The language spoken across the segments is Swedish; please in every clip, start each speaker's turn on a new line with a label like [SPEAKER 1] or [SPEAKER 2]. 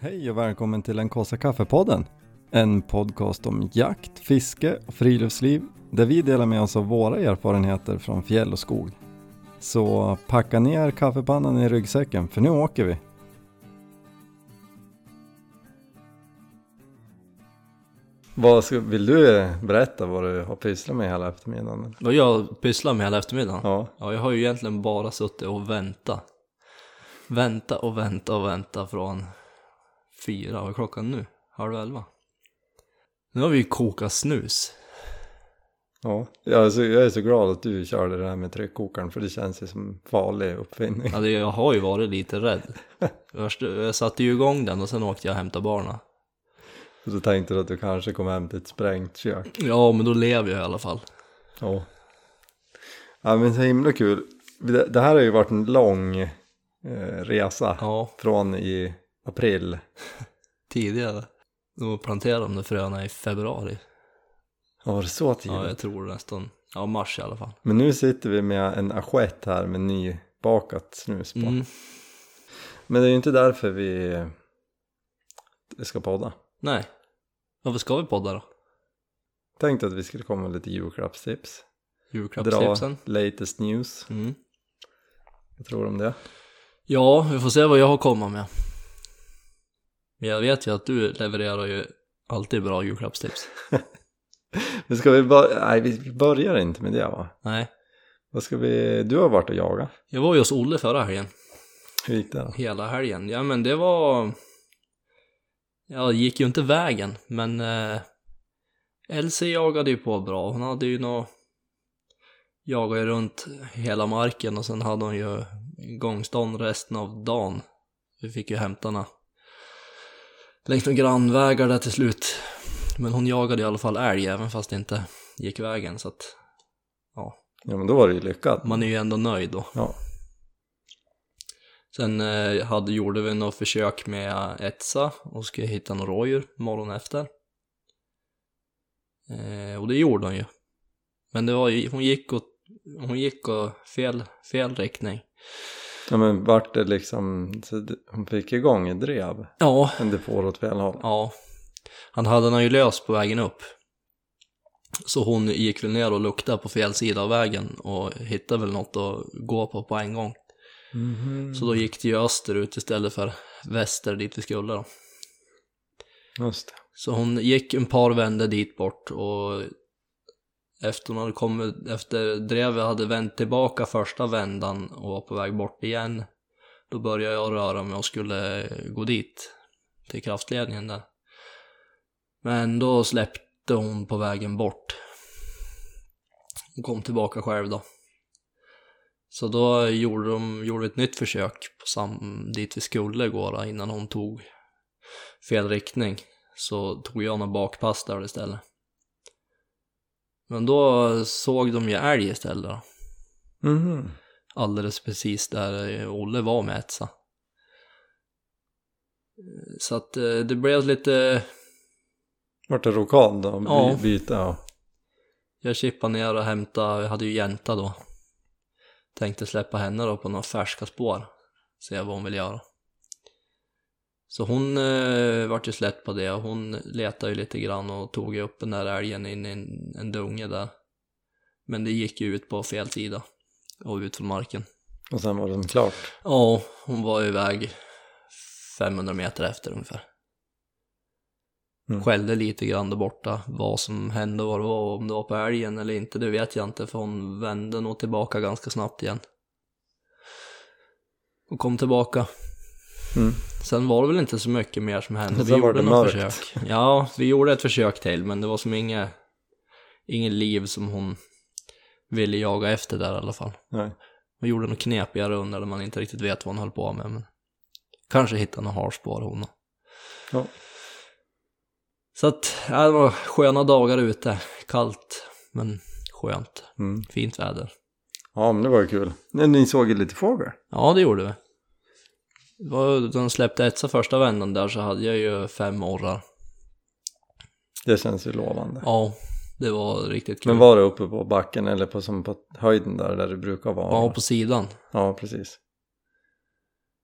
[SPEAKER 1] Hej och välkommen till den kaffe kaffepodden. En podcast om jakt, fiske och friluftsliv där vi delar med oss av våra erfarenheter från fjäll och skog. Så packa ner kaffepannan i ryggsäcken för nu åker vi. Vad ska, vill du berätta vad du har pysslat med hela eftermiddagen?
[SPEAKER 2] Vad jag pysslar med hela eftermiddagen? Ja.
[SPEAKER 1] Ja,
[SPEAKER 2] jag har ju egentligen bara suttit och vänta. Vänta och vänta och vänta från fyra, vad är klockan nu? Halv elva? Nu har vi ju kokat snus.
[SPEAKER 1] ja. Jag, är så, jag är så glad att du körde det här med tryckkokaren för det känns ju som en farlig uppfinning.
[SPEAKER 2] Alltså jag har ju varit lite rädd. Först, jag satte ju igång den och sen åkte jag och hämtade barnen.
[SPEAKER 1] Och så tänkte du att du kanske kom hem till ett sprängt kök.
[SPEAKER 2] Ja, men då lever jag i alla fall.
[SPEAKER 1] Ja. Ja men så himla kul. Det, det här har ju varit en lång eh, resa.
[SPEAKER 2] Ja,
[SPEAKER 1] Från i april.
[SPEAKER 2] tidigare. Då planterade de där fröna i februari.
[SPEAKER 1] Ja var det så tidigt?
[SPEAKER 2] Ja, jag tror nästan. Ja, mars i alla fall.
[SPEAKER 1] Men nu sitter vi med en assiett här med nybakat snus på.
[SPEAKER 2] Mm.
[SPEAKER 1] Men det är ju inte därför vi eh, ska podda.
[SPEAKER 2] Nej. Varför ska vi podda då?
[SPEAKER 1] Tänkte att vi skulle komma med lite julklappstips. Dra
[SPEAKER 2] Julklappstipsen?
[SPEAKER 1] latest news.
[SPEAKER 2] Mm.
[SPEAKER 1] Vad tror du om det?
[SPEAKER 2] Ja, vi får se vad jag har komma med. Men jag vet ju att du levererar ju alltid bra julklappstips.
[SPEAKER 1] Men ska vi börja? Nej vi börjar inte med det va?
[SPEAKER 2] Nej.
[SPEAKER 1] Vad ska vi? Du har varit och jagat.
[SPEAKER 2] Jag var ju hos Olle förra helgen.
[SPEAKER 1] Hur gick det? då?
[SPEAKER 2] Hela helgen. Ja men det var... Ja, det gick ju inte vägen, men... Eh, Elsie jagade ju på bra. Hon hade ju nå... Jagade ju runt hela marken och sen hade hon ju gångstånd resten av dagen. Vi fick ju hämta henne längs några grannvägar där till slut. Men hon jagade i alla fall älg även fast det inte gick vägen så att
[SPEAKER 1] Ja men då var det ju lyckat.
[SPEAKER 2] man är ju ändå nöjd då.
[SPEAKER 1] Ja.
[SPEAKER 2] Sen eh, hade, gjorde vi något försök med Etsa och skulle hitta några rådjur morgonen efter. Eh, och det gjorde hon ju. Men det var ju, hon gick åt, hon gick åt fel, fel riktning.
[SPEAKER 1] Ja men vart det liksom, så det- hon fick igång ett drev,
[SPEAKER 2] Ja,
[SPEAKER 1] men det får åt fel håll.
[SPEAKER 2] ja. Han hade henne ju lös på vägen upp. Så hon gick väl ner och luktade på fel sida av vägen och hittade väl något att gå på på en gång. Så då gick det ju österut istället för väster dit vi skulle då.
[SPEAKER 1] Just det.
[SPEAKER 2] Så hon gick en par vändor dit bort och efter hon hade kommit, efter drevet hade vänt tillbaka första vändan och var på väg bort igen, då började jag röra mig och skulle gå dit, till kraftledningen där. Men då släppte hon på vägen bort. Hon kom tillbaka själv då. Så då gjorde de gjorde vi ett nytt försök på sam, dit vi skulle gå då, innan hon tog fel riktning så tog jag några bakpass där istället. Men då såg de ju älg istället då.
[SPEAKER 1] Mhm.
[SPEAKER 2] Alldeles precis där Olle var med Etsa. Så att eh, det blev lite,
[SPEAKER 1] Vart det rokad då? By,
[SPEAKER 2] Ja.
[SPEAKER 1] Byta ja.
[SPEAKER 2] jag chippade ner och hämtade, jag hade ju jänta då. Tänkte släppa henne då på några färska spår. Se vad hon vill göra. Så hon eh, vart ju slätt på det. Hon letade ju lite grann och tog ju upp den där älgen in i en, en dunge där. Men det gick ju ut på fel sida och ut från marken.
[SPEAKER 1] Och sen var det klart.
[SPEAKER 2] Ja, hon var iväg 500 meter efter ungefär.
[SPEAKER 1] Mm.
[SPEAKER 2] Skällde lite grann där borta. Vad som hände och vad det var, om det var på älgen eller inte, det vet jag inte för hon vände nog tillbaka ganska snabbt igen. Och kom tillbaka.
[SPEAKER 1] Mm.
[SPEAKER 2] Sen var det väl inte så mycket mer som hände.
[SPEAKER 1] Sen var det
[SPEAKER 2] något
[SPEAKER 1] mörkt.
[SPEAKER 2] försök. Ja, vi gjorde ett försök till men det var som inget, inget liv som hon ville jaga efter där i alla fall.
[SPEAKER 1] Nej.
[SPEAKER 2] Hon gjorde något knepiga rundor där man inte riktigt vet vad hon höll på med. Men kanske hittade något harspår hon.
[SPEAKER 1] Ja.
[SPEAKER 2] Så att, ja, det var sköna dagar ute. Kallt, men skönt.
[SPEAKER 1] Mm.
[SPEAKER 2] Fint väder.
[SPEAKER 1] Ja men det var ju kul. Nej, ni såg ju lite fågel.
[SPEAKER 2] Ja, det gjorde vi. Det var- Då de släppte Etsa första vändan där så hade jag ju fem orrar.
[SPEAKER 1] Det känns ju lovande.
[SPEAKER 2] Ja, det var riktigt kul.
[SPEAKER 1] Men var det uppe på backen eller på, som på höjden där, där det brukar vara?
[SPEAKER 2] Ja, på sidan.
[SPEAKER 1] ja precis.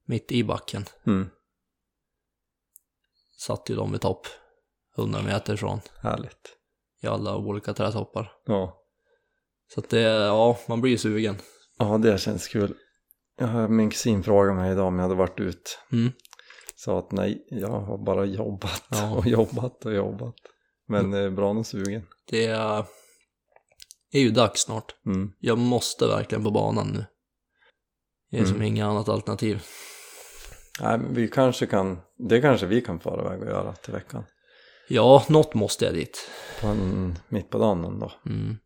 [SPEAKER 2] Mitt i backen.
[SPEAKER 1] Mm.
[SPEAKER 2] satt ju de i topp. 100 meter ifrån
[SPEAKER 1] Härligt.
[SPEAKER 2] i alla olika trädtoppar.
[SPEAKER 1] Ja.
[SPEAKER 2] Så att det, ja, man blir ju sugen.
[SPEAKER 1] ja, det känns kul. Jag har- Min kusin frågade mig idag om jag hade varit ut.
[SPEAKER 2] Mm.
[SPEAKER 1] Sa att nej, jag har bara jobbat
[SPEAKER 2] Ja.
[SPEAKER 1] och jobbat och jobbat. Men det är bra nog sugen.
[SPEAKER 2] Det är ju dags snart.
[SPEAKER 1] Mm.
[SPEAKER 2] Jag måste verkligen på banan nu. Det är som
[SPEAKER 1] Mm.
[SPEAKER 2] inget annat alternativ.
[SPEAKER 1] Nej, men vi kanske kan, det kanske vi kan fara iväg och göra till veckan.
[SPEAKER 2] Ja, något måste jag dit.
[SPEAKER 1] På en, mitt på dagen någon dag.
[SPEAKER 2] Mm.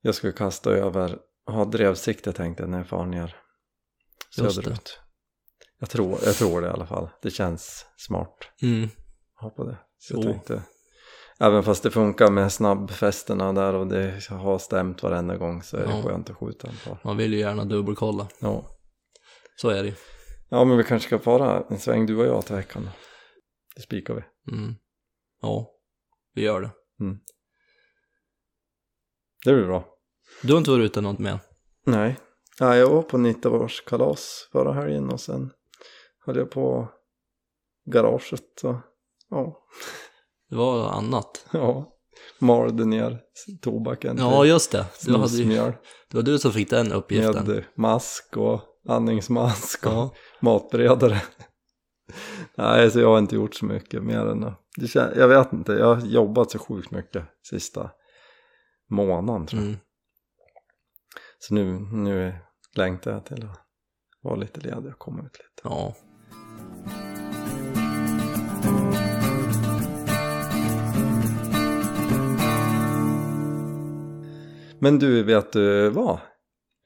[SPEAKER 1] Jag skulle kasta över, ha drevsikte tänkte jag när jag far ner
[SPEAKER 2] Just det.
[SPEAKER 1] söderut. Jag tror, jag tror det i alla fall. Det känns smart
[SPEAKER 2] Mm.
[SPEAKER 1] att ha på det. Så jag
[SPEAKER 2] Jo.
[SPEAKER 1] tänkte, även fast det funkar med snabbfesterna där och det har stämt varenda gång så är det
[SPEAKER 2] Ja.
[SPEAKER 1] skönt att skjuta en par.
[SPEAKER 2] Man vill ju gärna dubbelkolla.
[SPEAKER 1] Ja.
[SPEAKER 2] Så är det ju.
[SPEAKER 1] ja, men vi kanske ska fara en sväng du och jag till veckan. då. Det spikar vi.
[SPEAKER 2] Mm. Ja, vi gör det.
[SPEAKER 1] Det blir bra.
[SPEAKER 2] Du har inte varit ute något mer?
[SPEAKER 1] Nej. Nej, jag var på 90-årskalas förra helgen och sen höll jag på garaget och ja,
[SPEAKER 2] Det var annat.
[SPEAKER 1] ja malde ner tobaken
[SPEAKER 2] Ja, just det. Du, hade ju,
[SPEAKER 1] snusmjöl
[SPEAKER 2] det var du som fick den uppgiften.
[SPEAKER 1] med mask och andningsmask och
[SPEAKER 2] Ja.
[SPEAKER 1] matberedare. Nej, så jag har inte gjort så mycket mer än att- det kän- Jag vet inte, jag har jobbat så sjukt mycket sista månaden tror jag.
[SPEAKER 2] Mm.
[SPEAKER 1] Så nu, nu längtar jag till att vara lite ledig och komma ut lite.
[SPEAKER 2] Ja.
[SPEAKER 1] Men du, vet du vad?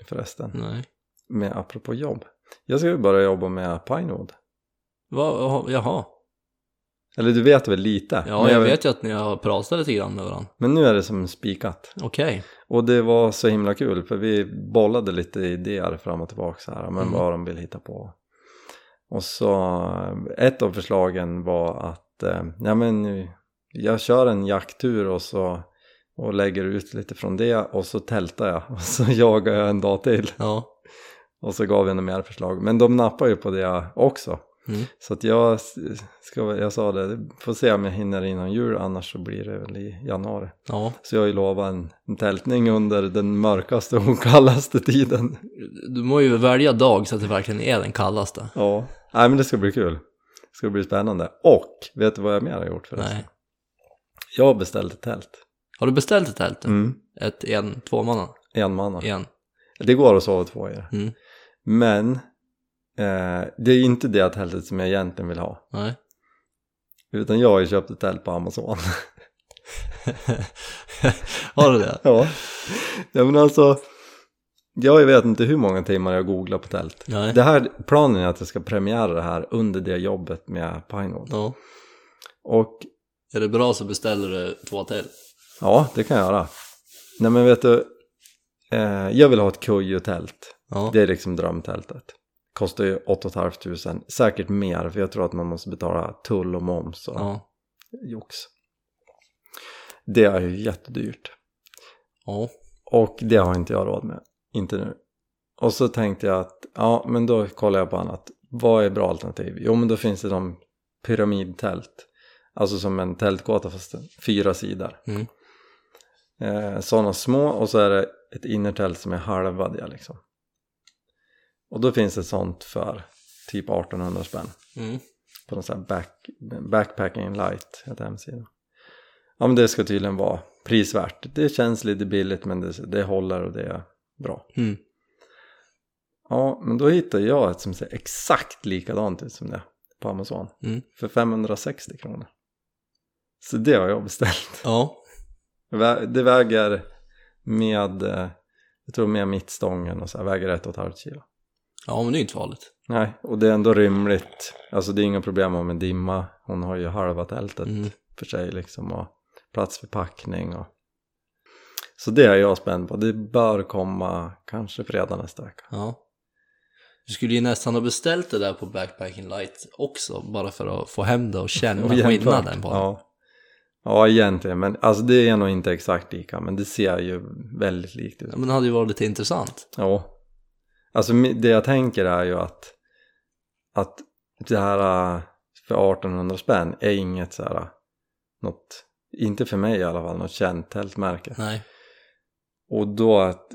[SPEAKER 1] Förresten,
[SPEAKER 2] Nej.
[SPEAKER 1] med apropå jobb. Jag ska ju börja jobba med Pinewood.
[SPEAKER 2] Va, jaha.
[SPEAKER 1] Eller du vet väl lite?
[SPEAKER 2] Ja,
[SPEAKER 1] men,
[SPEAKER 2] jag vet ju att ni har pratat lite grann med varandra.
[SPEAKER 1] men nu är det som spikat.
[SPEAKER 2] Okej.
[SPEAKER 1] Och det var så himla kul för vi bollade lite idéer fram och tillbaka så här, men
[SPEAKER 2] Mm.
[SPEAKER 1] vad de vill hitta på. Och så eh, ett av förslagen var att, eh, ja men nu- jag kör en jakttur och så och lägger ut lite från det och så tältar jag och så jagar jag en dag till.
[SPEAKER 2] Ja.
[SPEAKER 1] Och så gav jag några mer förslag. Men de nappar ju på det också.
[SPEAKER 2] Mm.
[SPEAKER 1] Så att jag, s- ska, jag sa det, får se om jag hinner innan jul annars så blir det väl i januari.
[SPEAKER 2] Ja.
[SPEAKER 1] Så jag har ju lovat en, en tältning under den mörkaste och kallaste tiden.
[SPEAKER 2] Du må ju välja dag så att det verkligen är den kallaste.
[SPEAKER 1] Ja. Nej men det ska bli kul. Det ska bli spännande. Och, vet du vad jag mer har gjort förresten?
[SPEAKER 2] Nej.
[SPEAKER 1] Jag beställde tält.
[SPEAKER 2] Har du beställt ett tält?
[SPEAKER 1] Mm.
[SPEAKER 2] Ett en, tvåmanna?
[SPEAKER 1] Enmanna.
[SPEAKER 2] En?
[SPEAKER 1] Det går att sova två i det.
[SPEAKER 2] Mm.
[SPEAKER 1] Men, eh, det är ju inte det tältet som jag egentligen vill ha.
[SPEAKER 2] Nej.
[SPEAKER 1] Utan jag har ju köpt ett tält på Amazon.
[SPEAKER 2] har du det?
[SPEAKER 1] Ja. ja, men alltså. Jag vet inte hur många timmar jag googlar på tält.
[SPEAKER 2] Nej.
[SPEAKER 1] Det här, planen är att jag ska premiera det här under det jobbet med Pinewood.
[SPEAKER 2] Ja.
[SPEAKER 1] Och
[SPEAKER 2] Är det bra så beställer du två till.
[SPEAKER 1] ja, det kan jag göra. Nej men vet du, eh, jag vill ha ett kujotält.
[SPEAKER 2] Ja.
[SPEAKER 1] Det är liksom drömtältet. Kostar ju 8 500, säkert mer för jag tror att man måste betala tull och moms och
[SPEAKER 2] Ja.
[SPEAKER 1] jox. Det är ju jättedyrt.
[SPEAKER 2] Ja.
[SPEAKER 1] Och det har inte jag råd med. Inte nu. Och så tänkte jag att, ja men då kollar jag på annat. Vad är bra alternativ? Jo men då finns det de pyramidtält. Alltså som en tältgata fast fyra sidor.
[SPEAKER 2] Mm.
[SPEAKER 1] Eh, Sådana små och så är det ett innertält som är halva det liksom. Och då finns det sånt för typ 1800 spänn
[SPEAKER 2] Mm.
[SPEAKER 1] på någon sån här back, backpacking light, heter hemsidan. Ja men det ska tydligen vara prisvärt. Det känns lite billigt men det, det håller och det är bra.
[SPEAKER 2] Mm.
[SPEAKER 1] Ja men då hittade jag ett som ser exakt likadant ut som det på Amazon.
[SPEAKER 2] Mm.
[SPEAKER 1] För 560 kronor. Så det har jag beställt.
[SPEAKER 2] Ja.
[SPEAKER 1] Vä- Det väger med, eh, jag tror med mittstången och så här, väger ett och ett halvt kilo.
[SPEAKER 2] Ja, men det är inte farligt.
[SPEAKER 1] Nej, och det är ändå rymligt. Alltså det är inga problem om en dimma. Hon har ju halva tältet
[SPEAKER 2] Mm.
[SPEAKER 1] för sig liksom och plats för packning och så det är jag spänd på. Det bör komma kanske fredag nästa vecka.
[SPEAKER 2] Ja. Du skulle ju nästan ha beställt det där på Backpacking Light också, bara för att få hem det och känna
[SPEAKER 1] Och jämfört.
[SPEAKER 2] skillnaden på det.
[SPEAKER 1] ja. ja, egentligen. Men alltså det är nog inte exakt lika, men det ser ju väldigt likt ut.
[SPEAKER 2] Ja, Men det hade ju varit lite intressant.
[SPEAKER 1] Ja. Alltså mi- det jag tänker är ju att, att det här äh, för 1800 spänn är inget så här, äh, något, inte för mig i alla fall, något känt tältmärke.
[SPEAKER 2] Nej.
[SPEAKER 1] Och då att,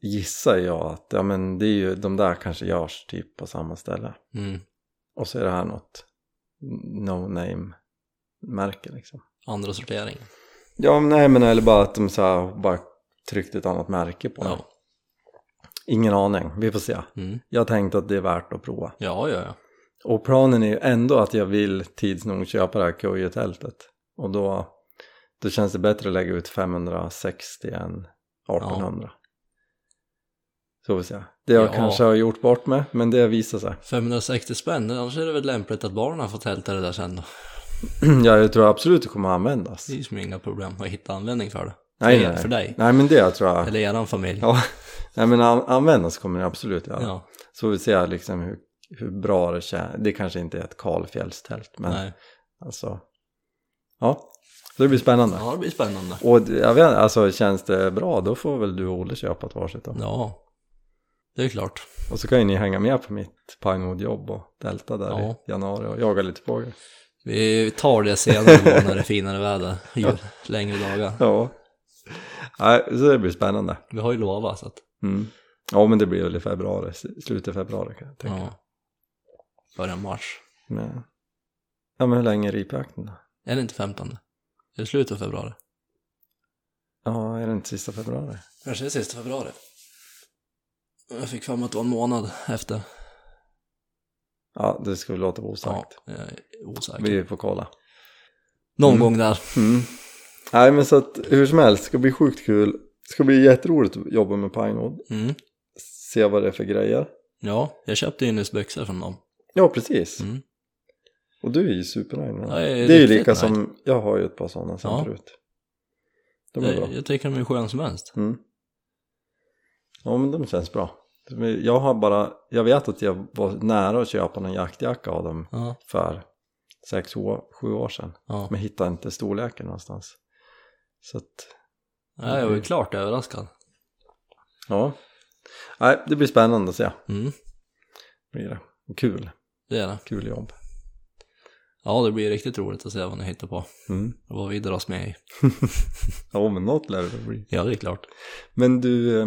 [SPEAKER 1] gissar jag att ja, men det är ju, de där kanske görs typ på samma ställe.
[SPEAKER 2] Mm.
[SPEAKER 1] Och så är det här något no-name-märke liksom.
[SPEAKER 2] Andra sortering.
[SPEAKER 1] Ja, men nej men eller bara att de så här, bara tryckt ett annat märke på det.
[SPEAKER 2] Ja.
[SPEAKER 1] Ingen aning, vi får se.
[SPEAKER 2] Mm.
[SPEAKER 1] Jag tänkte att det är värt att prova.
[SPEAKER 2] Ja, ja, ja.
[SPEAKER 1] Och planen är ju ändå att jag vill tids nog köpa det här Kujo-tältet. Och då, då känns det bättre att lägga ut 560 än 1800. Så vill säga. Det jag
[SPEAKER 2] Ja.
[SPEAKER 1] kanske har gjort bort med, men det visar sig.
[SPEAKER 2] 560 spänn, annars är det väl lämpligt att barnen får tälta det där sen då.
[SPEAKER 1] ja, jag tror absolut det kommer att användas.
[SPEAKER 2] Det är ju som inga problem att hitta användning för det.
[SPEAKER 1] Nej,
[SPEAKER 2] För-
[SPEAKER 1] nej.
[SPEAKER 2] För dig.
[SPEAKER 1] Nej, men det tror jag.
[SPEAKER 2] Eller eran familj.
[SPEAKER 1] Ja. Nej, men an- användas kommer det absolut göra.
[SPEAKER 2] Ja,
[SPEAKER 1] Så vi ser liksom hur, hur bra det känns. Det kanske inte är ett kalfjällstält, men
[SPEAKER 2] nej.
[SPEAKER 1] alltså. Ja, så det blir spännande.
[SPEAKER 2] ja det blir spännande.
[SPEAKER 1] Och d- jag vet inte, alltså känns det bra då får väl du och Olle köpa ett varsitt då.
[SPEAKER 2] Ja, det är klart.
[SPEAKER 1] Och så kan ju ni hänga med på mitt Pinewood-jobb och delta där
[SPEAKER 2] Ja.
[SPEAKER 1] i januari och jaga lite fågel.
[SPEAKER 2] Vi tar det senare då när det är finare väder. Ju längre dagar.
[SPEAKER 1] Ja. Nej, så det blir spännande.
[SPEAKER 2] Vi har ju lovat så att,
[SPEAKER 1] Mm. Ja, men det blir väl i februari, s- slutet av februari kan jag tänka.
[SPEAKER 2] ja. Början mars.
[SPEAKER 1] Men, ja, men hur länge är ripjakten då?
[SPEAKER 2] Är det inte 15? Är det slutet av februari?
[SPEAKER 1] Ja, är det inte sista februari?
[SPEAKER 2] Kanske det är sista februari. Jag fick för mig att det var en månad efter.
[SPEAKER 1] Ja, det ska vi låta vara
[SPEAKER 2] Ja,
[SPEAKER 1] osagt.
[SPEAKER 2] jag är osäker.
[SPEAKER 1] Vi får kolla.
[SPEAKER 2] Någon gång där.
[SPEAKER 1] Mm. Nej, men så att hur som helst, det ska bli sjukt kul. Det ska bli jätteroligt att jobba med Pinewood.
[SPEAKER 2] Mm.
[SPEAKER 1] Se vad det är för grejer.
[SPEAKER 2] Ja, jag köpte ju nyss byxor från dem.
[SPEAKER 1] Ja, precis.
[SPEAKER 2] Mm.
[SPEAKER 1] Och du är ju supernöjd med dem.
[SPEAKER 2] Ja, jag är
[SPEAKER 1] Det är ju
[SPEAKER 2] riktigt
[SPEAKER 1] lika
[SPEAKER 2] nöjd.
[SPEAKER 1] som, jag har ju ett par sådana sen
[SPEAKER 2] Ja.
[SPEAKER 1] förut. De är bra.
[SPEAKER 2] Jag, jag tycker de är sköna som helst.
[SPEAKER 1] Mm. Ja, men de känns bra. De är- Jag har bara, jag vet att jag var nära att köpa någon jaktjacka av dem
[SPEAKER 2] Ja,
[SPEAKER 1] för sex, år- sju år sedan.
[SPEAKER 2] ja.
[SPEAKER 1] Men hittade inte storleken någonstans. Så att,
[SPEAKER 2] ja jag var ju klart överraskad.
[SPEAKER 1] ja. Nej, det blir spännande att se.
[SPEAKER 2] Mm,
[SPEAKER 1] Blir det. Och Kul,
[SPEAKER 2] det är det.
[SPEAKER 1] kul jobb.
[SPEAKER 2] Ja, det blir riktigt roligt att se vad ni hittar på.
[SPEAKER 1] Mm.
[SPEAKER 2] Och vad vi dras med i.
[SPEAKER 1] Ja, men något lär det bli.
[SPEAKER 2] Ja, det är klart.
[SPEAKER 1] Men du, eh,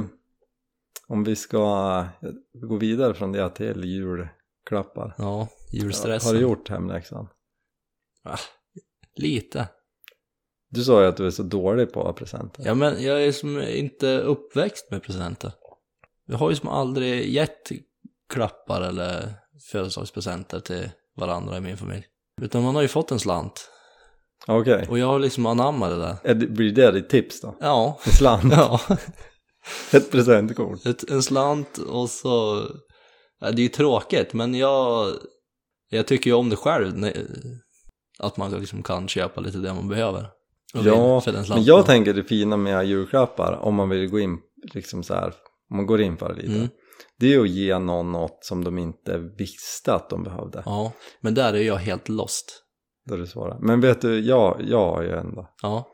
[SPEAKER 1] om vi ska eh, gå vidare från det till julklappar.
[SPEAKER 2] Ja, julstressen.
[SPEAKER 1] Har du gjort hemläxan?
[SPEAKER 2] Lite.
[SPEAKER 1] Du sa ju att du är så dålig på presenter.
[SPEAKER 2] Ja, men jag är som inte uppväxt med presenter. Vi har ju som aldrig gett klappar eller födelsedagspresenter till varandra i min familj. Utan man har ju fått en slant.
[SPEAKER 1] Okej.
[SPEAKER 2] Och jag har liksom anammat det där.
[SPEAKER 1] Är det- Blir det ditt tips då?
[SPEAKER 2] Ja,
[SPEAKER 1] En slant?
[SPEAKER 2] ja.
[SPEAKER 1] Ett presentkort?
[SPEAKER 2] Ett, en slant och så... Ja, det är ju tråkigt, men jag, jag tycker ju om det själv. när- Att man liksom kan köpa lite det man behöver. Och
[SPEAKER 1] Ja,
[SPEAKER 2] för den
[SPEAKER 1] Men
[SPEAKER 2] slanten.
[SPEAKER 1] jag tänker det fina med julklappar, om man vill gå in liksom så här, om man går in för det lite.
[SPEAKER 2] Mm.
[SPEAKER 1] Det är att ge någon något som de inte visste att de behövde.
[SPEAKER 2] Ja, men där är jag helt lost.
[SPEAKER 1] Då du svarar. Men vet du, jag, jag har ju ändå.
[SPEAKER 2] Ja,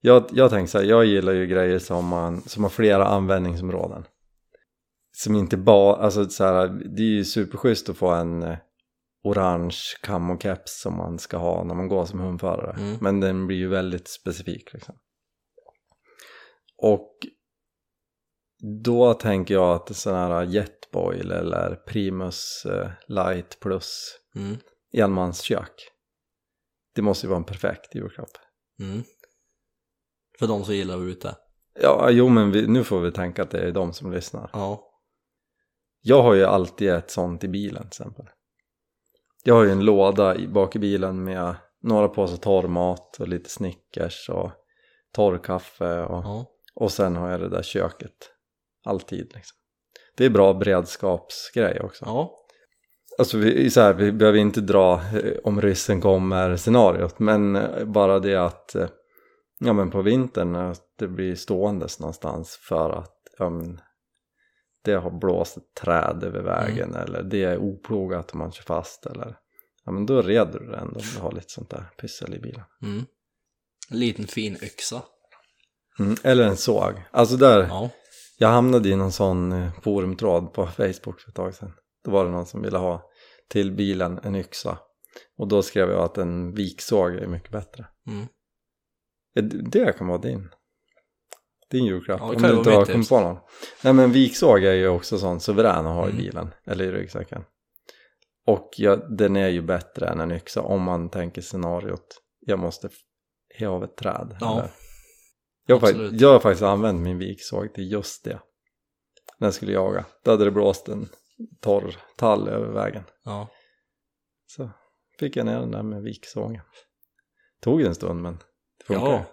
[SPEAKER 1] Jag, jag tänker så här, jag gillar ju grejer som, man, som har flera användningsområden. Som inte bara, alltså så här, det är ju superschysst att få en eh, orange kamokeps som man ska ha när man går som hundförare.
[SPEAKER 2] Mm.
[SPEAKER 1] Men den blir ju väldigt specifik liksom. Och då tänker jag att sån här Jetboil eller Primus eh, Light Plus
[SPEAKER 2] mm,
[SPEAKER 1] enmanskök. Det måste ju vara en perfekt julklapp.
[SPEAKER 2] mm. För de som gillar att vara ute.
[SPEAKER 1] Ja, jo men vi, nu får vi tänka att det är de som lyssnar.
[SPEAKER 2] Ja,
[SPEAKER 1] Jag har ju alltid ett sånt i bilen till exempel. Jag har ju en låda i, bak i bilen med några påsar torrmat och lite Snickers och torrkaffe och,
[SPEAKER 2] ja,
[SPEAKER 1] och sen har jag det där köket. Alltid liksom. Det är bra beredskapsgrej också.
[SPEAKER 2] ja.
[SPEAKER 1] Alltså vi, så här, vi behöver inte dra eh, om ryssen kommer scenariot men eh, bara det att eh, ja men på vintern eh, att det blir ståendes någonstans för att ja, men, det har blåst ett träd över vägen eller det är oplogat och man kör fast eller ja men då reder du det ändå om du har lite sånt där pyssel i bilen.
[SPEAKER 2] Mm. En liten fin yxa.
[SPEAKER 1] Mm, eller en såg. Alltså där,
[SPEAKER 2] Ja,
[SPEAKER 1] jag hamnade i någon sån eh, forumtråd på Facebook för ett tag sedan. Då var det någon som ville ha till bilen en yxa. Och då skrev jag att en viksåg är mycket bättre.
[SPEAKER 2] Mm.
[SPEAKER 1] Eh, d- Det kan vara din. Din julklapp.
[SPEAKER 2] Ja, det
[SPEAKER 1] om
[SPEAKER 2] kan
[SPEAKER 1] du
[SPEAKER 2] vara
[SPEAKER 1] inte
[SPEAKER 2] mitt
[SPEAKER 1] har kommit
[SPEAKER 2] tips.
[SPEAKER 1] på någon. Nej men viksåg är ju också sån suverän att ha
[SPEAKER 2] Mm.
[SPEAKER 1] i bilen. Eller i ryggsäcken. Och ja, den är ju bättre än en yxa om man tänker scenariot. Jag måste f- ha av ett träd.
[SPEAKER 2] Ja.
[SPEAKER 1] eller- jag, har, fakt-
[SPEAKER 2] Absolut.
[SPEAKER 1] jag har faktiskt använt min viksåg till just det. När jag skulle jaga. Då hade det blåst en torr tall över vägen.
[SPEAKER 2] Ja.
[SPEAKER 1] Så fick jag ner den där med viksågen. Tog en stund men det funkar.
[SPEAKER 2] ja.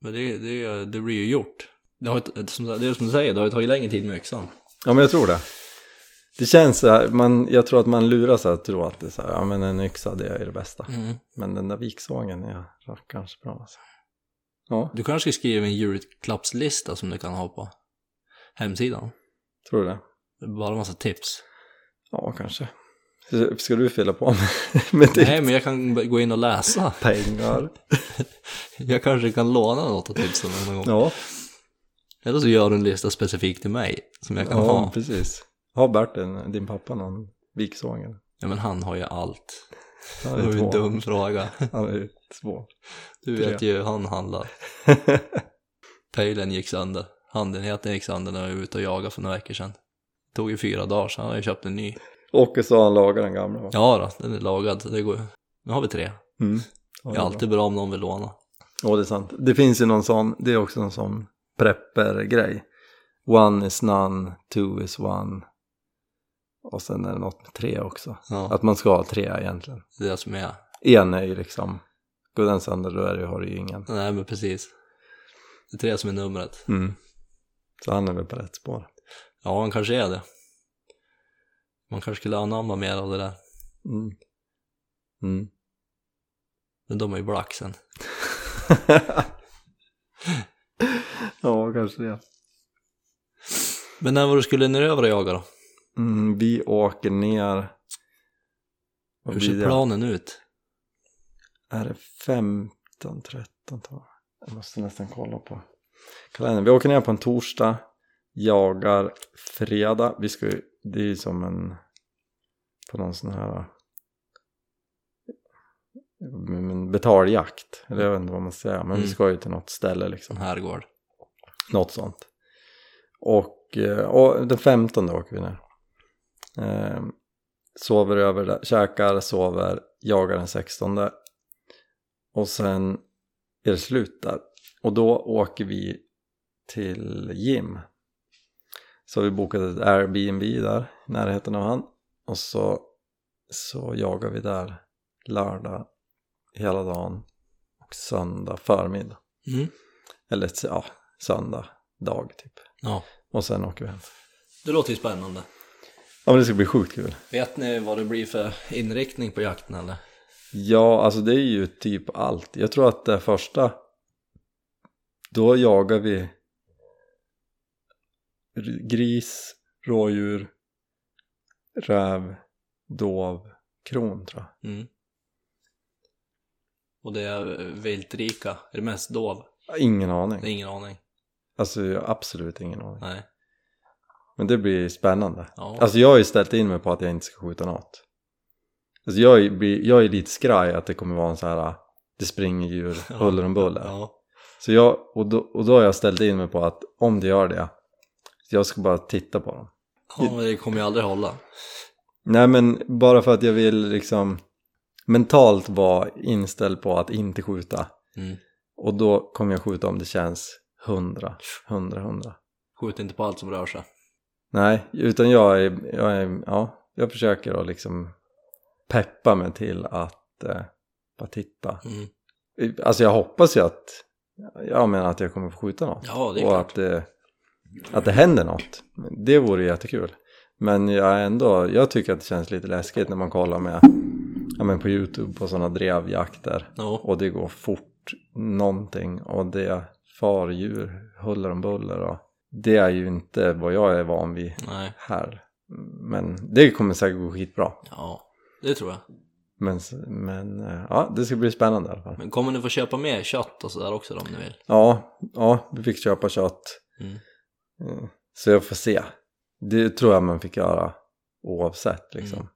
[SPEAKER 2] Men det, det, det blir ju gjort. Det, har, ju- som, det är som du säger, det har ju tagit längre tid med yxan.
[SPEAKER 1] ja men jag tror det. Det känns så här, man, jag tror att man luras att tro att det är så här, ja men en yxa det är det bästa. Men den där viksågen är rackarns bra alltså. Ja,
[SPEAKER 2] Du kanske skriver en julklappslista som du kan ha på hemsidan.
[SPEAKER 1] tror du det?
[SPEAKER 2] Det är Bara massa tips.
[SPEAKER 1] Ja, kanske. Ska du fylla på med, med ditt
[SPEAKER 2] Nej, men jag kan b- gå in och läsa.
[SPEAKER 1] pengar?
[SPEAKER 2] Jag kanske kan låna något av tipsen någon gång.
[SPEAKER 1] Ja,
[SPEAKER 2] Eller så gör du en lista specifikt till mig som jag kan
[SPEAKER 1] ja
[SPEAKER 2] ha.
[SPEAKER 1] precis. Har Bert, en- din pappa, någon viksåg? eller?
[SPEAKER 2] Ja, men han har ju allt.
[SPEAKER 1] Han
[SPEAKER 2] Det
[SPEAKER 1] är
[SPEAKER 2] var ju en
[SPEAKER 1] två.
[SPEAKER 2] dum fråga.
[SPEAKER 1] Han är två.
[SPEAKER 2] Du
[SPEAKER 1] Tre.
[SPEAKER 2] vet ju hur han handlar. Pejlen gick sönder. Handenheten gick sönder när jag var ute och jagade för några veckor sedan. Det tog ju fyra dagar, så han har ju köpt en ny.
[SPEAKER 1] Och så han lagar den gamla va?
[SPEAKER 2] Ja då, den är lagad. så Det går. ju. Nu har vi tre.
[SPEAKER 1] Mm. Ja,
[SPEAKER 2] Det
[SPEAKER 1] det
[SPEAKER 2] är
[SPEAKER 1] är
[SPEAKER 2] alltid bra om någon vill låna.
[SPEAKER 1] Ja, det är sant. Det finns ju någon sån, det är också en sån prepper-grej. One is none, two is one. Och sen är det något med tre också.
[SPEAKER 2] Ja,
[SPEAKER 1] Att man ska ha tre egentligen.
[SPEAKER 2] det är det som är.
[SPEAKER 1] En är ju liksom, går den sönder då är det, har du ju ingen.
[SPEAKER 2] Nej men precis. Det är tre som är numret.
[SPEAKER 1] Mm. Så han är väl på rätt spår.
[SPEAKER 2] Ja, han kanske är det. Man kanske skulle anamma mer av det där.
[SPEAKER 1] Mm. Mm.
[SPEAKER 2] Men de är ju blaxen.
[SPEAKER 1] ja, kanske det.
[SPEAKER 2] Men när var du skulle ner över och jaga då?
[SPEAKER 1] Mm, vi åker ner. Vad
[SPEAKER 2] Hur
[SPEAKER 1] blir
[SPEAKER 2] ser
[SPEAKER 1] det?
[SPEAKER 2] planen ut?
[SPEAKER 1] Är det 15, 13 tror jag. Jag måste nästan kolla på kalendern. Vi åker ner på en torsdag, jagar fredag. Vi ska ju, det är ju som en, på någon sån här eh, men betaljakt. Eller jag vet inte vad man säger, men vi
[SPEAKER 2] Mm.
[SPEAKER 1] ska ju till något ställe liksom.
[SPEAKER 2] En herrgård.
[SPEAKER 1] Något sånt. Och, eh, och den 15 åker vi ner. Eh, sover över där, käkar, sover, jagar den 16. Och sen är det slut där. Och då åker vi till Jim. Så vi bokade ett Airbnb där i närheten av han. Och så, så jagar vi där lördag hela dagen och söndag förmiddag.
[SPEAKER 2] Mm.
[SPEAKER 1] Eller ja, söndag dag typ.
[SPEAKER 2] Ja,
[SPEAKER 1] Och sen åker vi hem.
[SPEAKER 2] det låter ju spännande.
[SPEAKER 1] Ja men det ska bli sjukt kul.
[SPEAKER 2] Vet ni vad det blir för inriktning på jakten eller?
[SPEAKER 1] Ja, alltså det är ju typ allt. Jag tror att det första, då jagar vi r- gris, rådjur, räv, dov, kron tror jag.
[SPEAKER 2] Mm. Och det är eh, viltrika, är det mest dov?
[SPEAKER 1] Jag har Ingen
[SPEAKER 2] Det är
[SPEAKER 1] aning.
[SPEAKER 2] ingen aning.
[SPEAKER 1] Alltså jag har absolut ingen aning.
[SPEAKER 2] Nej.
[SPEAKER 1] Men det blir spännande.
[SPEAKER 2] Ja.
[SPEAKER 1] Alltså jag har ju ställt in mig på att jag inte ska skjuta något. Alltså jag är, blir- jag är lite skraj att det kommer vara en så här, det springer djur
[SPEAKER 2] Ja.
[SPEAKER 1] huller om buller.
[SPEAKER 2] ja.
[SPEAKER 1] Så jag, och, då, och då har jag ställt in mig på att om det gör det, jag ska bara titta på dem.
[SPEAKER 2] ja, men det kommer ju aldrig hålla.
[SPEAKER 1] Nej men bara för att jag vill liksom mentalt vara inställd på att inte skjuta.
[SPEAKER 2] Mm.
[SPEAKER 1] Och då kommer jag skjuta om det känns hundra, hundra, hundra.
[SPEAKER 2] Skjut inte på allt som rör sig.
[SPEAKER 1] Nej, utan jag är, jag är, ja, jag försöker att liksom peppa mig till att eh, bara titta.
[SPEAKER 2] Mm.
[SPEAKER 1] Alltså jag hoppas ju att, jag menar att jag kommer få skjuta något.
[SPEAKER 2] Ja, det är
[SPEAKER 1] och
[SPEAKER 2] klart.
[SPEAKER 1] att det, att det händer något. Det vore jättekul. Men jag är ändå, jag tycker att det känns lite läskigt när man kollar med, ja men på YouTube på sådana drevjakter.
[SPEAKER 2] Ja.
[SPEAKER 1] Och det går fort någonting och det är fardjur, huller om buller och det är ju inte vad jag är van vid
[SPEAKER 2] Nej.
[SPEAKER 1] här. Men det kommer säkert gå skitbra.
[SPEAKER 2] Ja, det tror jag.
[SPEAKER 1] Men, s- men eh, ja, det ska bli spännande i alla fall.
[SPEAKER 2] Men kommer ni få köpa mer kött och sådär också då, om ni vill?
[SPEAKER 1] Ja, ja, vi fick köpa kött. Eh,
[SPEAKER 2] Mm.
[SPEAKER 1] Mm. Så jag får se. Det tror jag man fick göra oavsett liksom.
[SPEAKER 2] Mm.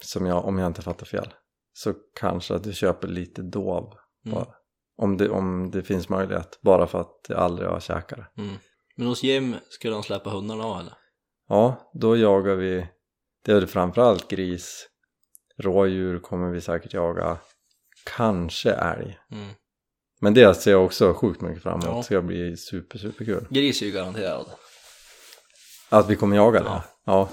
[SPEAKER 1] Som jag, om jag inte fattar fel. Så kanske att du köper lite dov
[SPEAKER 2] Mm.
[SPEAKER 1] bara. Om det, om det finns möjlighet, bara för att jag aldrig har käkat det.
[SPEAKER 2] Mm. Men hos Jim skulle han släppa hundarna av eller?
[SPEAKER 1] Ja, då jagar vi, det är väl framförallt gris, rådjur kommer vi säkert jaga, kanske älg.
[SPEAKER 2] Mm.
[SPEAKER 1] Men det ser jag också sjukt mycket fram emot,
[SPEAKER 2] Ja.
[SPEAKER 1] det ska bli super, super kul.
[SPEAKER 2] Gris är ju garanterad.
[SPEAKER 1] Att vi kommer jaga det?
[SPEAKER 2] Ja.
[SPEAKER 1] Ja.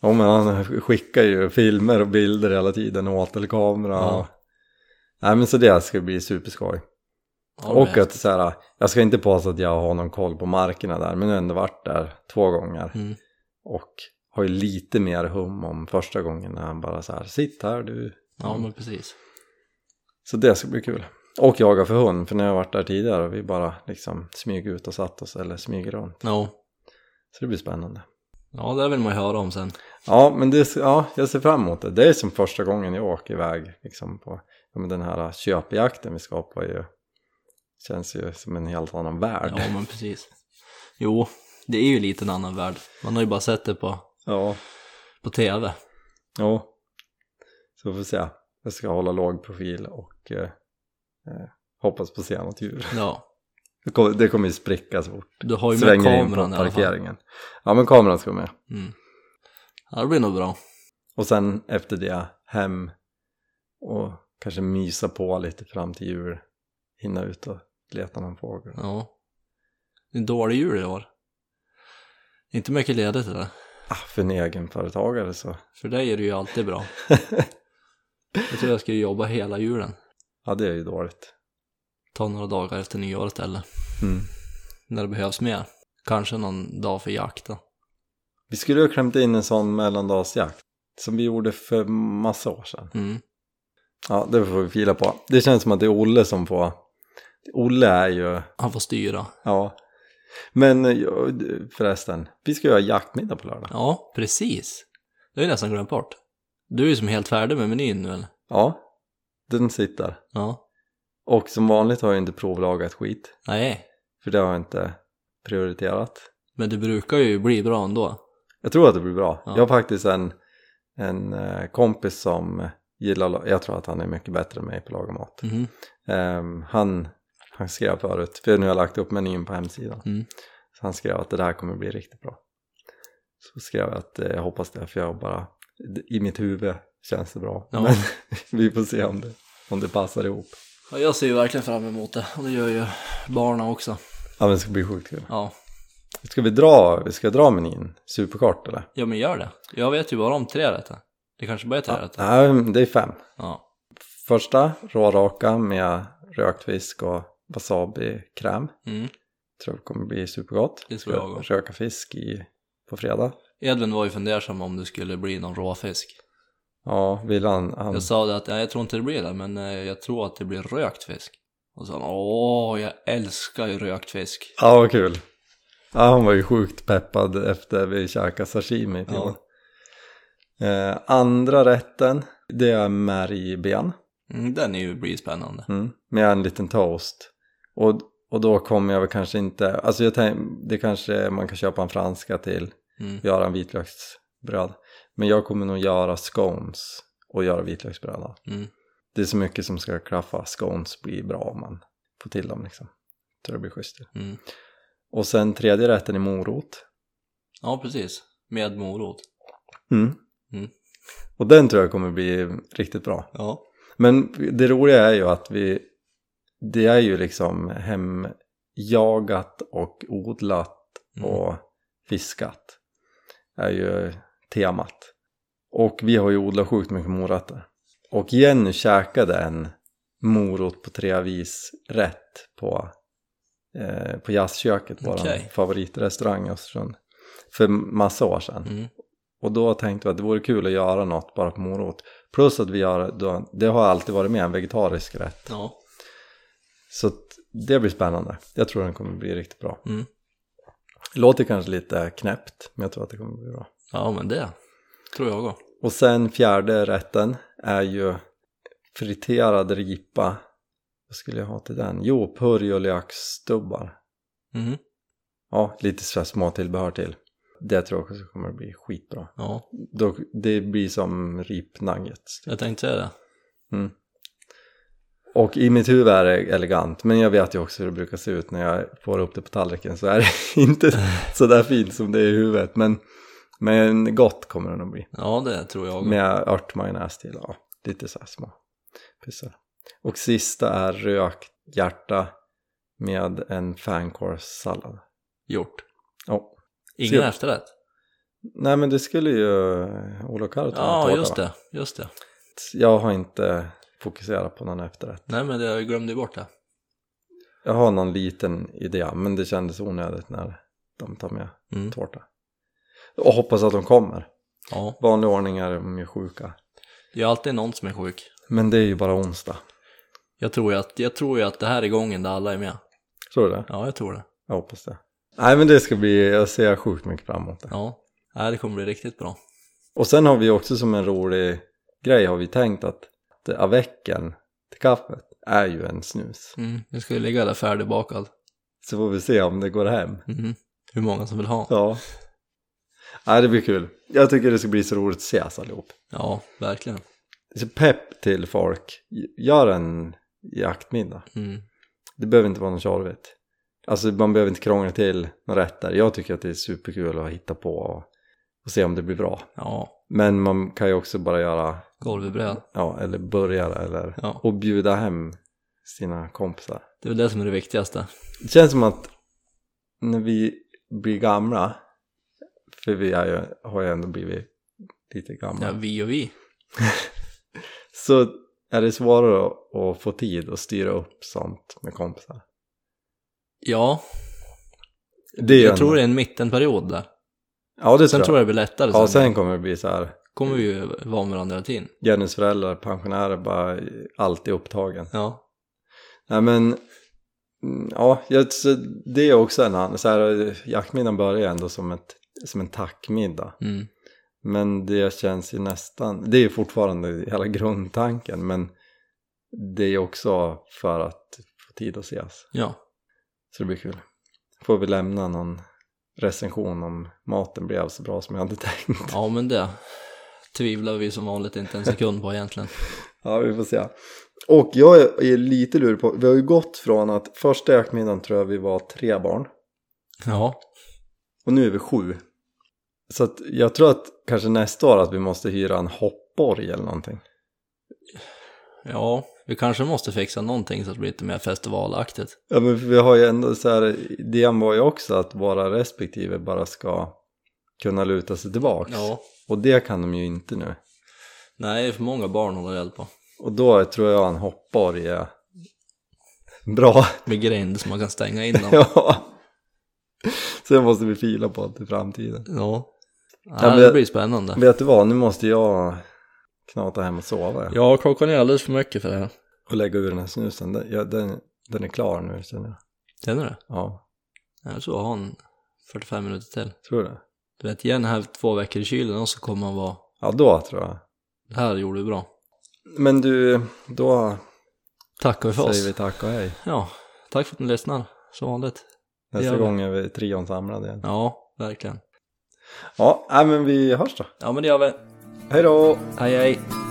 [SPEAKER 1] ja. men han skickar ju filmer och bilder hela tiden och återkamera.
[SPEAKER 2] Ja.
[SPEAKER 1] och Nej men så det ska bli superskoj.
[SPEAKER 2] Ja, det
[SPEAKER 1] och
[SPEAKER 2] är-
[SPEAKER 1] att så här, jag ska inte påstå att jag har någon koll på markerna där, men jag har ändå varit där två gånger.
[SPEAKER 2] Mm.
[SPEAKER 1] Och har ju lite mer hum om första gången när han bara så här, sitt här du.
[SPEAKER 2] Ja men precis.
[SPEAKER 1] Så det ska bli kul. Och jaga för hund, för när jag har varit där tidigare och vi bara liksom smyger ut och satt oss eller smyger runt.
[SPEAKER 2] Ja.
[SPEAKER 1] Så det blir spännande.
[SPEAKER 2] ja, det vill man ju höra om sen.
[SPEAKER 1] Ja, men det, ja, jag ser fram emot det. Det är som första gången jag åker iväg liksom på ja, men den här köpjakten vi skapar ju. Känns ju som en helt annan värld.
[SPEAKER 2] Ja men precis. Jo, det är ju lite en annan värld. Man har ju bara sett det på,
[SPEAKER 1] Ja.
[SPEAKER 2] på tv.
[SPEAKER 1] ja. Så vi får se. Jag ska hålla låg profil och eh, eh, hoppas på att se något djur.
[SPEAKER 2] Ja.
[SPEAKER 1] Det kommer, det kommer ju spricka så fort.
[SPEAKER 2] Du har ju med
[SPEAKER 1] Svänger in på
[SPEAKER 2] kameran i alla fall.
[SPEAKER 1] parkeringen. Ja, men kameran ska med.
[SPEAKER 2] Mm. Ja, det blir nog bra.
[SPEAKER 1] Och sen efter det hem och kanske mysa på lite fram till jul. Hinna ut och leta någon fågel.
[SPEAKER 2] Ja. Det är en dålig jul i år. Inte mycket ledigt det där.
[SPEAKER 1] Ah, för en egenföretagare så.
[SPEAKER 2] För dig är det ju alltid bra. Jag tror jag ska jobba hela julen.
[SPEAKER 1] ja, det är ju dåligt.
[SPEAKER 2] Ta några dagar efter nyår istället.
[SPEAKER 1] Mm.
[SPEAKER 2] När det behövs mer. Kanske någon dag för jakt då.
[SPEAKER 1] Vi skulle ju ha klämt in en sån mellandagsjakt som vi gjorde för massa år sedan.
[SPEAKER 2] Mm.
[SPEAKER 1] Ja, det får vi fila på. Det känns som att det är Olle som får... Olle är ju...
[SPEAKER 2] Han får styra.
[SPEAKER 1] Ja. Men eh, jag- förresten, vi ska göra jaktmiddag på lördag.
[SPEAKER 2] Ja, precis. Det har jag nästan glömt bort. Du är ju som helt färdig med menyn nu eller?
[SPEAKER 1] Ja, den sitter.
[SPEAKER 2] Ja.
[SPEAKER 1] Och som vanligt har jag inte provlagat skit.
[SPEAKER 2] Nej,
[SPEAKER 1] För det har jag inte prioriterat.
[SPEAKER 2] men det brukar ju bli bra ändå.
[SPEAKER 1] Jag tror att det blir bra.
[SPEAKER 2] Ja.
[SPEAKER 1] Jag har faktiskt en, en eh, kompis som gillar, la- jag tror att han är mycket bättre än mig på att laga mat.
[SPEAKER 2] Mhm.
[SPEAKER 1] Ehm, han, han skrev förut, för nu har jag lagt upp menyn på hemsidan.
[SPEAKER 2] Mm.
[SPEAKER 1] Så han skrev att det där kommer bli riktigt bra. Så skrev jag att eh, jag hoppas det, för jag bara, i mitt huvud känns det bra.
[SPEAKER 2] Ja.
[SPEAKER 1] Men vi får se om det, om det passar ihop.
[SPEAKER 2] Ja, jag ser ju verkligen fram emot det och det gör ju barna också.
[SPEAKER 1] Ja men det ska bli sjukt kul.
[SPEAKER 2] Ja,
[SPEAKER 1] Ska vi dra, vi ska dra menyn superkort eller?
[SPEAKER 2] ja men gör det. Jag vet ju bara om tre rätter. Det kanske bara är tre rätter.
[SPEAKER 1] Nej, det är fem.
[SPEAKER 2] Ja.
[SPEAKER 1] Första, råraka med rökt fisk och wasabi-kräm.
[SPEAKER 2] Mm.
[SPEAKER 1] Tror det kommer bli supergott.
[SPEAKER 2] Det tror jag också.
[SPEAKER 1] Röka fisk i, på fredag.
[SPEAKER 2] Edvin var ju fundersam om det skulle bli någon råfisk.
[SPEAKER 1] Ja, vill han... han
[SPEAKER 2] Jag sa det att nej, jag tror inte det blir det, men eh, jag tror att det blir rökt fisk. Och så sa han åh, jag älskar ju rökt fisk.
[SPEAKER 1] Ja, vad kul. Ja, han var ju sjukt peppad efter vi käkade sashimi.
[SPEAKER 2] Ja.
[SPEAKER 1] Ja. Eh, andra rätten, det är märgben
[SPEAKER 2] Mm, den är ju blir spännande.
[SPEAKER 1] mm, med en liten toast. Och, och då kommer jag väl kanske inte... Alltså jag tänk, det kanske man kan köpa en franska till.
[SPEAKER 2] Mm.
[SPEAKER 1] göra en vitlöksbröd. Men jag kommer nog göra scones och göra vitlöksbröd. då.
[SPEAKER 2] Mm.
[SPEAKER 1] Det är så mycket som ska klaffa. Scones blir bra om man får till dem liksom. Tror det blir schysst.
[SPEAKER 2] Mm.
[SPEAKER 1] Och sen tredje rätten är morot.
[SPEAKER 2] Ja, precis. Med morot.
[SPEAKER 1] Mm.
[SPEAKER 2] Mm.
[SPEAKER 1] Och den tror jag kommer bli riktigt bra.
[SPEAKER 2] Ja.
[SPEAKER 1] Men det roliga är ju att vi, det är ju liksom hemjagat och odlat
[SPEAKER 2] Mm.
[SPEAKER 1] och fiskat är ju temat. Och vi har ju odlat sjukt mycket morötter. Och Jenny käkade en morot på tre vis rätt på, eh, på jazzköket, vår
[SPEAKER 2] Okej.
[SPEAKER 1] favoritrestaurang i Östersund, för massa år sedan.
[SPEAKER 2] Mm.
[SPEAKER 1] Och då tänkte vi att det vore kul att göra något bara på morot. Plus att vi gör, då- det har alltid varit med en vegetarisk rätt.
[SPEAKER 2] Ja.
[SPEAKER 1] Så att det blir spännande. Jag tror den kommer bli riktigt bra.
[SPEAKER 2] Mm.
[SPEAKER 1] Låter kanske lite knäppt, men jag tror att det kommer bli bra.
[SPEAKER 2] ja, men det tror jag också.
[SPEAKER 1] Och sen fjärde rätten är ju friterad ripa. Vad skulle jag ha till den? Jo, purjolöksstubbar.
[SPEAKER 2] Mhm.
[SPEAKER 1] Ja, lite så här små tillbehör till. det tror jag också kommer bli skitbra.
[SPEAKER 2] Ja,
[SPEAKER 1] Då, det blir som ripnuggets.
[SPEAKER 2] jag tänkte säga det.
[SPEAKER 1] Och i mitt huvud är det elegant, men jag vet ju också hur det brukar se ut när jag får upp det på tallriken så är det inte så där fint som det är i huvudet. Men, men gott kommer det nog bli.
[SPEAKER 2] Ja, det tror jag.
[SPEAKER 1] Med örtmajonnäs till, ja, lite så här små pyssar. Och sista är rökt hjärta med en fänkålssallad.
[SPEAKER 2] Gjort.
[SPEAKER 1] Ja.
[SPEAKER 2] Ingen
[SPEAKER 1] Se-
[SPEAKER 2] efterrätt?
[SPEAKER 1] Nej men det skulle ju Olof Karlo ta en
[SPEAKER 2] Ja,
[SPEAKER 1] tårta,
[SPEAKER 2] just
[SPEAKER 1] va?
[SPEAKER 2] det. Just det.
[SPEAKER 1] Jag har inte fokuserat på någon efterrätt.
[SPEAKER 2] Nej, men det, jag glömde ju bort det.
[SPEAKER 1] Jag har någon liten idé, men det kändes onödigt när de tar med
[SPEAKER 2] Mm.
[SPEAKER 1] tårta. Och hoppas att de kommer.
[SPEAKER 2] Ja,
[SPEAKER 1] Vanlig ordning är de ju sjuka.
[SPEAKER 2] det är alltid någon som är sjuk.
[SPEAKER 1] Men det är ju bara onsdag.
[SPEAKER 2] Jag tror ju att, jag tror ju att det här är gången där alla är med.
[SPEAKER 1] Tror du det?
[SPEAKER 2] Ja, jag tror det.
[SPEAKER 1] Jag hoppas det. Nej men det ska bli, jag ser sjukt mycket fram emot det.
[SPEAKER 2] Ja, Nej, det kommer bli riktigt bra.
[SPEAKER 1] Och sen har vi också som en rolig grej har vi tänkt att det- avecken till kaffet är ju en snus.
[SPEAKER 2] Mm. Jag ska ju ligga där färdigbakad.
[SPEAKER 1] Så får vi se om det går hem.
[SPEAKER 2] Mhm. Hur många som vill ha.
[SPEAKER 1] Ja. Nej det blir kul. Jag tycker det ska bli så roligt att ses allihop.
[SPEAKER 2] Ja, verkligen.
[SPEAKER 1] Så pepp till folk, gör en jaktmiddag.
[SPEAKER 2] Mm.
[SPEAKER 1] Det behöver inte vara något tjorvigt. Alltså man behöver inte krångla till några rätter. Jag tycker att det är superkul att hitta på och, och se om det blir bra.
[SPEAKER 2] Ja,
[SPEAKER 1] Men man kan ju också bara göra,
[SPEAKER 2] golv i bröd.
[SPEAKER 1] ja, eller burgare eller,
[SPEAKER 2] Ja.
[SPEAKER 1] och bjuda hem sina kompisar.
[SPEAKER 2] Det är väl det som är det viktigaste.
[SPEAKER 1] Det känns som att när vi blir gamla, för vi är ju, har ju ändå blivit lite gamla,
[SPEAKER 2] Ja, vi och vi.
[SPEAKER 1] så är det svårare att- att få tid att styra upp sånt med kompisar.
[SPEAKER 2] Ja,
[SPEAKER 1] Det är ju
[SPEAKER 2] jag
[SPEAKER 1] ändå-
[SPEAKER 2] tror det är en mittenperiod där.
[SPEAKER 1] Ja, det
[SPEAKER 2] Sen tror jag det blir lättare.
[SPEAKER 1] Ja,
[SPEAKER 2] sen
[SPEAKER 1] sen kommer det bli så här,
[SPEAKER 2] kommer vi ju vara med varandra hela tiden.
[SPEAKER 1] Jennys föräldrar, pensionärer, bara alltid upptagen.
[SPEAKER 2] Ja,
[SPEAKER 1] Nej men, mm, ja, jag- så det är också en annan, så här, jaktmiddagen börjar ändå som, ett, som en tackmiddag.
[SPEAKER 2] mm.
[SPEAKER 1] Men det känns ju nästan, det är ju fortfarande hela grundtanken, men det är ju också för att få tid att ses.
[SPEAKER 2] ja.
[SPEAKER 1] Så det blir kul. Får vi lämna någon recension om maten blev så bra som jag hade tänkt.
[SPEAKER 2] ja, men det tvivlar vi som vanligt inte en sekund på egentligen.
[SPEAKER 1] Ja, vi får se. Och jag är- är lite lurig på, vi har ju gått från att första jaktmiddagen tror jag vi var tre barn
[SPEAKER 2] Ja,
[SPEAKER 1] och nu är vi sju. Så att jag tror att kanske nästa år att vi måste hyra en hoppborg eller någonting.
[SPEAKER 2] ja, vi kanske måste fixa någonting så att det blir lite mer festivalaktigt.
[SPEAKER 1] Ja men för vi har ju ändå så här, idén var ju också att våra respektive bara ska kunna luta sig tillbaks.
[SPEAKER 2] Ja,
[SPEAKER 1] Och det kan de ju inte nu.
[SPEAKER 2] nej, det är för många barn att hålla reda på.
[SPEAKER 1] Och då tror jag en hoppborg är bra.
[SPEAKER 2] Med grind som man kan stänga in dem.
[SPEAKER 1] ja. Sen måste vi fila på det i framtiden.
[SPEAKER 2] Ja. Ja,
[SPEAKER 1] men-
[SPEAKER 2] det blir spännande.
[SPEAKER 1] Vet du vad, nu måste jag knata hem och sova ja.
[SPEAKER 2] Ja, klockan är alldeles för mycket för det här.
[SPEAKER 1] och lägga ur den här snusen. Den, ja, den, den är klar nu känner jag.
[SPEAKER 2] Känner du?
[SPEAKER 1] Ja,
[SPEAKER 2] Jag tror jag har en 45 minuter till.
[SPEAKER 1] tror du det?
[SPEAKER 2] Du vet, igen här två veckor i kylen och så kommer man vara,
[SPEAKER 1] Ja, då tror jag.
[SPEAKER 2] det här gjorde du bra.
[SPEAKER 1] Men du, då
[SPEAKER 2] Tackar vi för
[SPEAKER 1] säger vi
[SPEAKER 2] oss.
[SPEAKER 1] tack och hej.
[SPEAKER 2] Ja, tack för att ni lyssnar, som vanligt.
[SPEAKER 1] Nästa
[SPEAKER 2] Ja.
[SPEAKER 1] gång är vi trion samlade igen.
[SPEAKER 2] Ja, verkligen.
[SPEAKER 1] Ja, nej, men vi hörs då.
[SPEAKER 2] Ja, men det gör vi.
[SPEAKER 1] Hej då!
[SPEAKER 2] Hej, hej.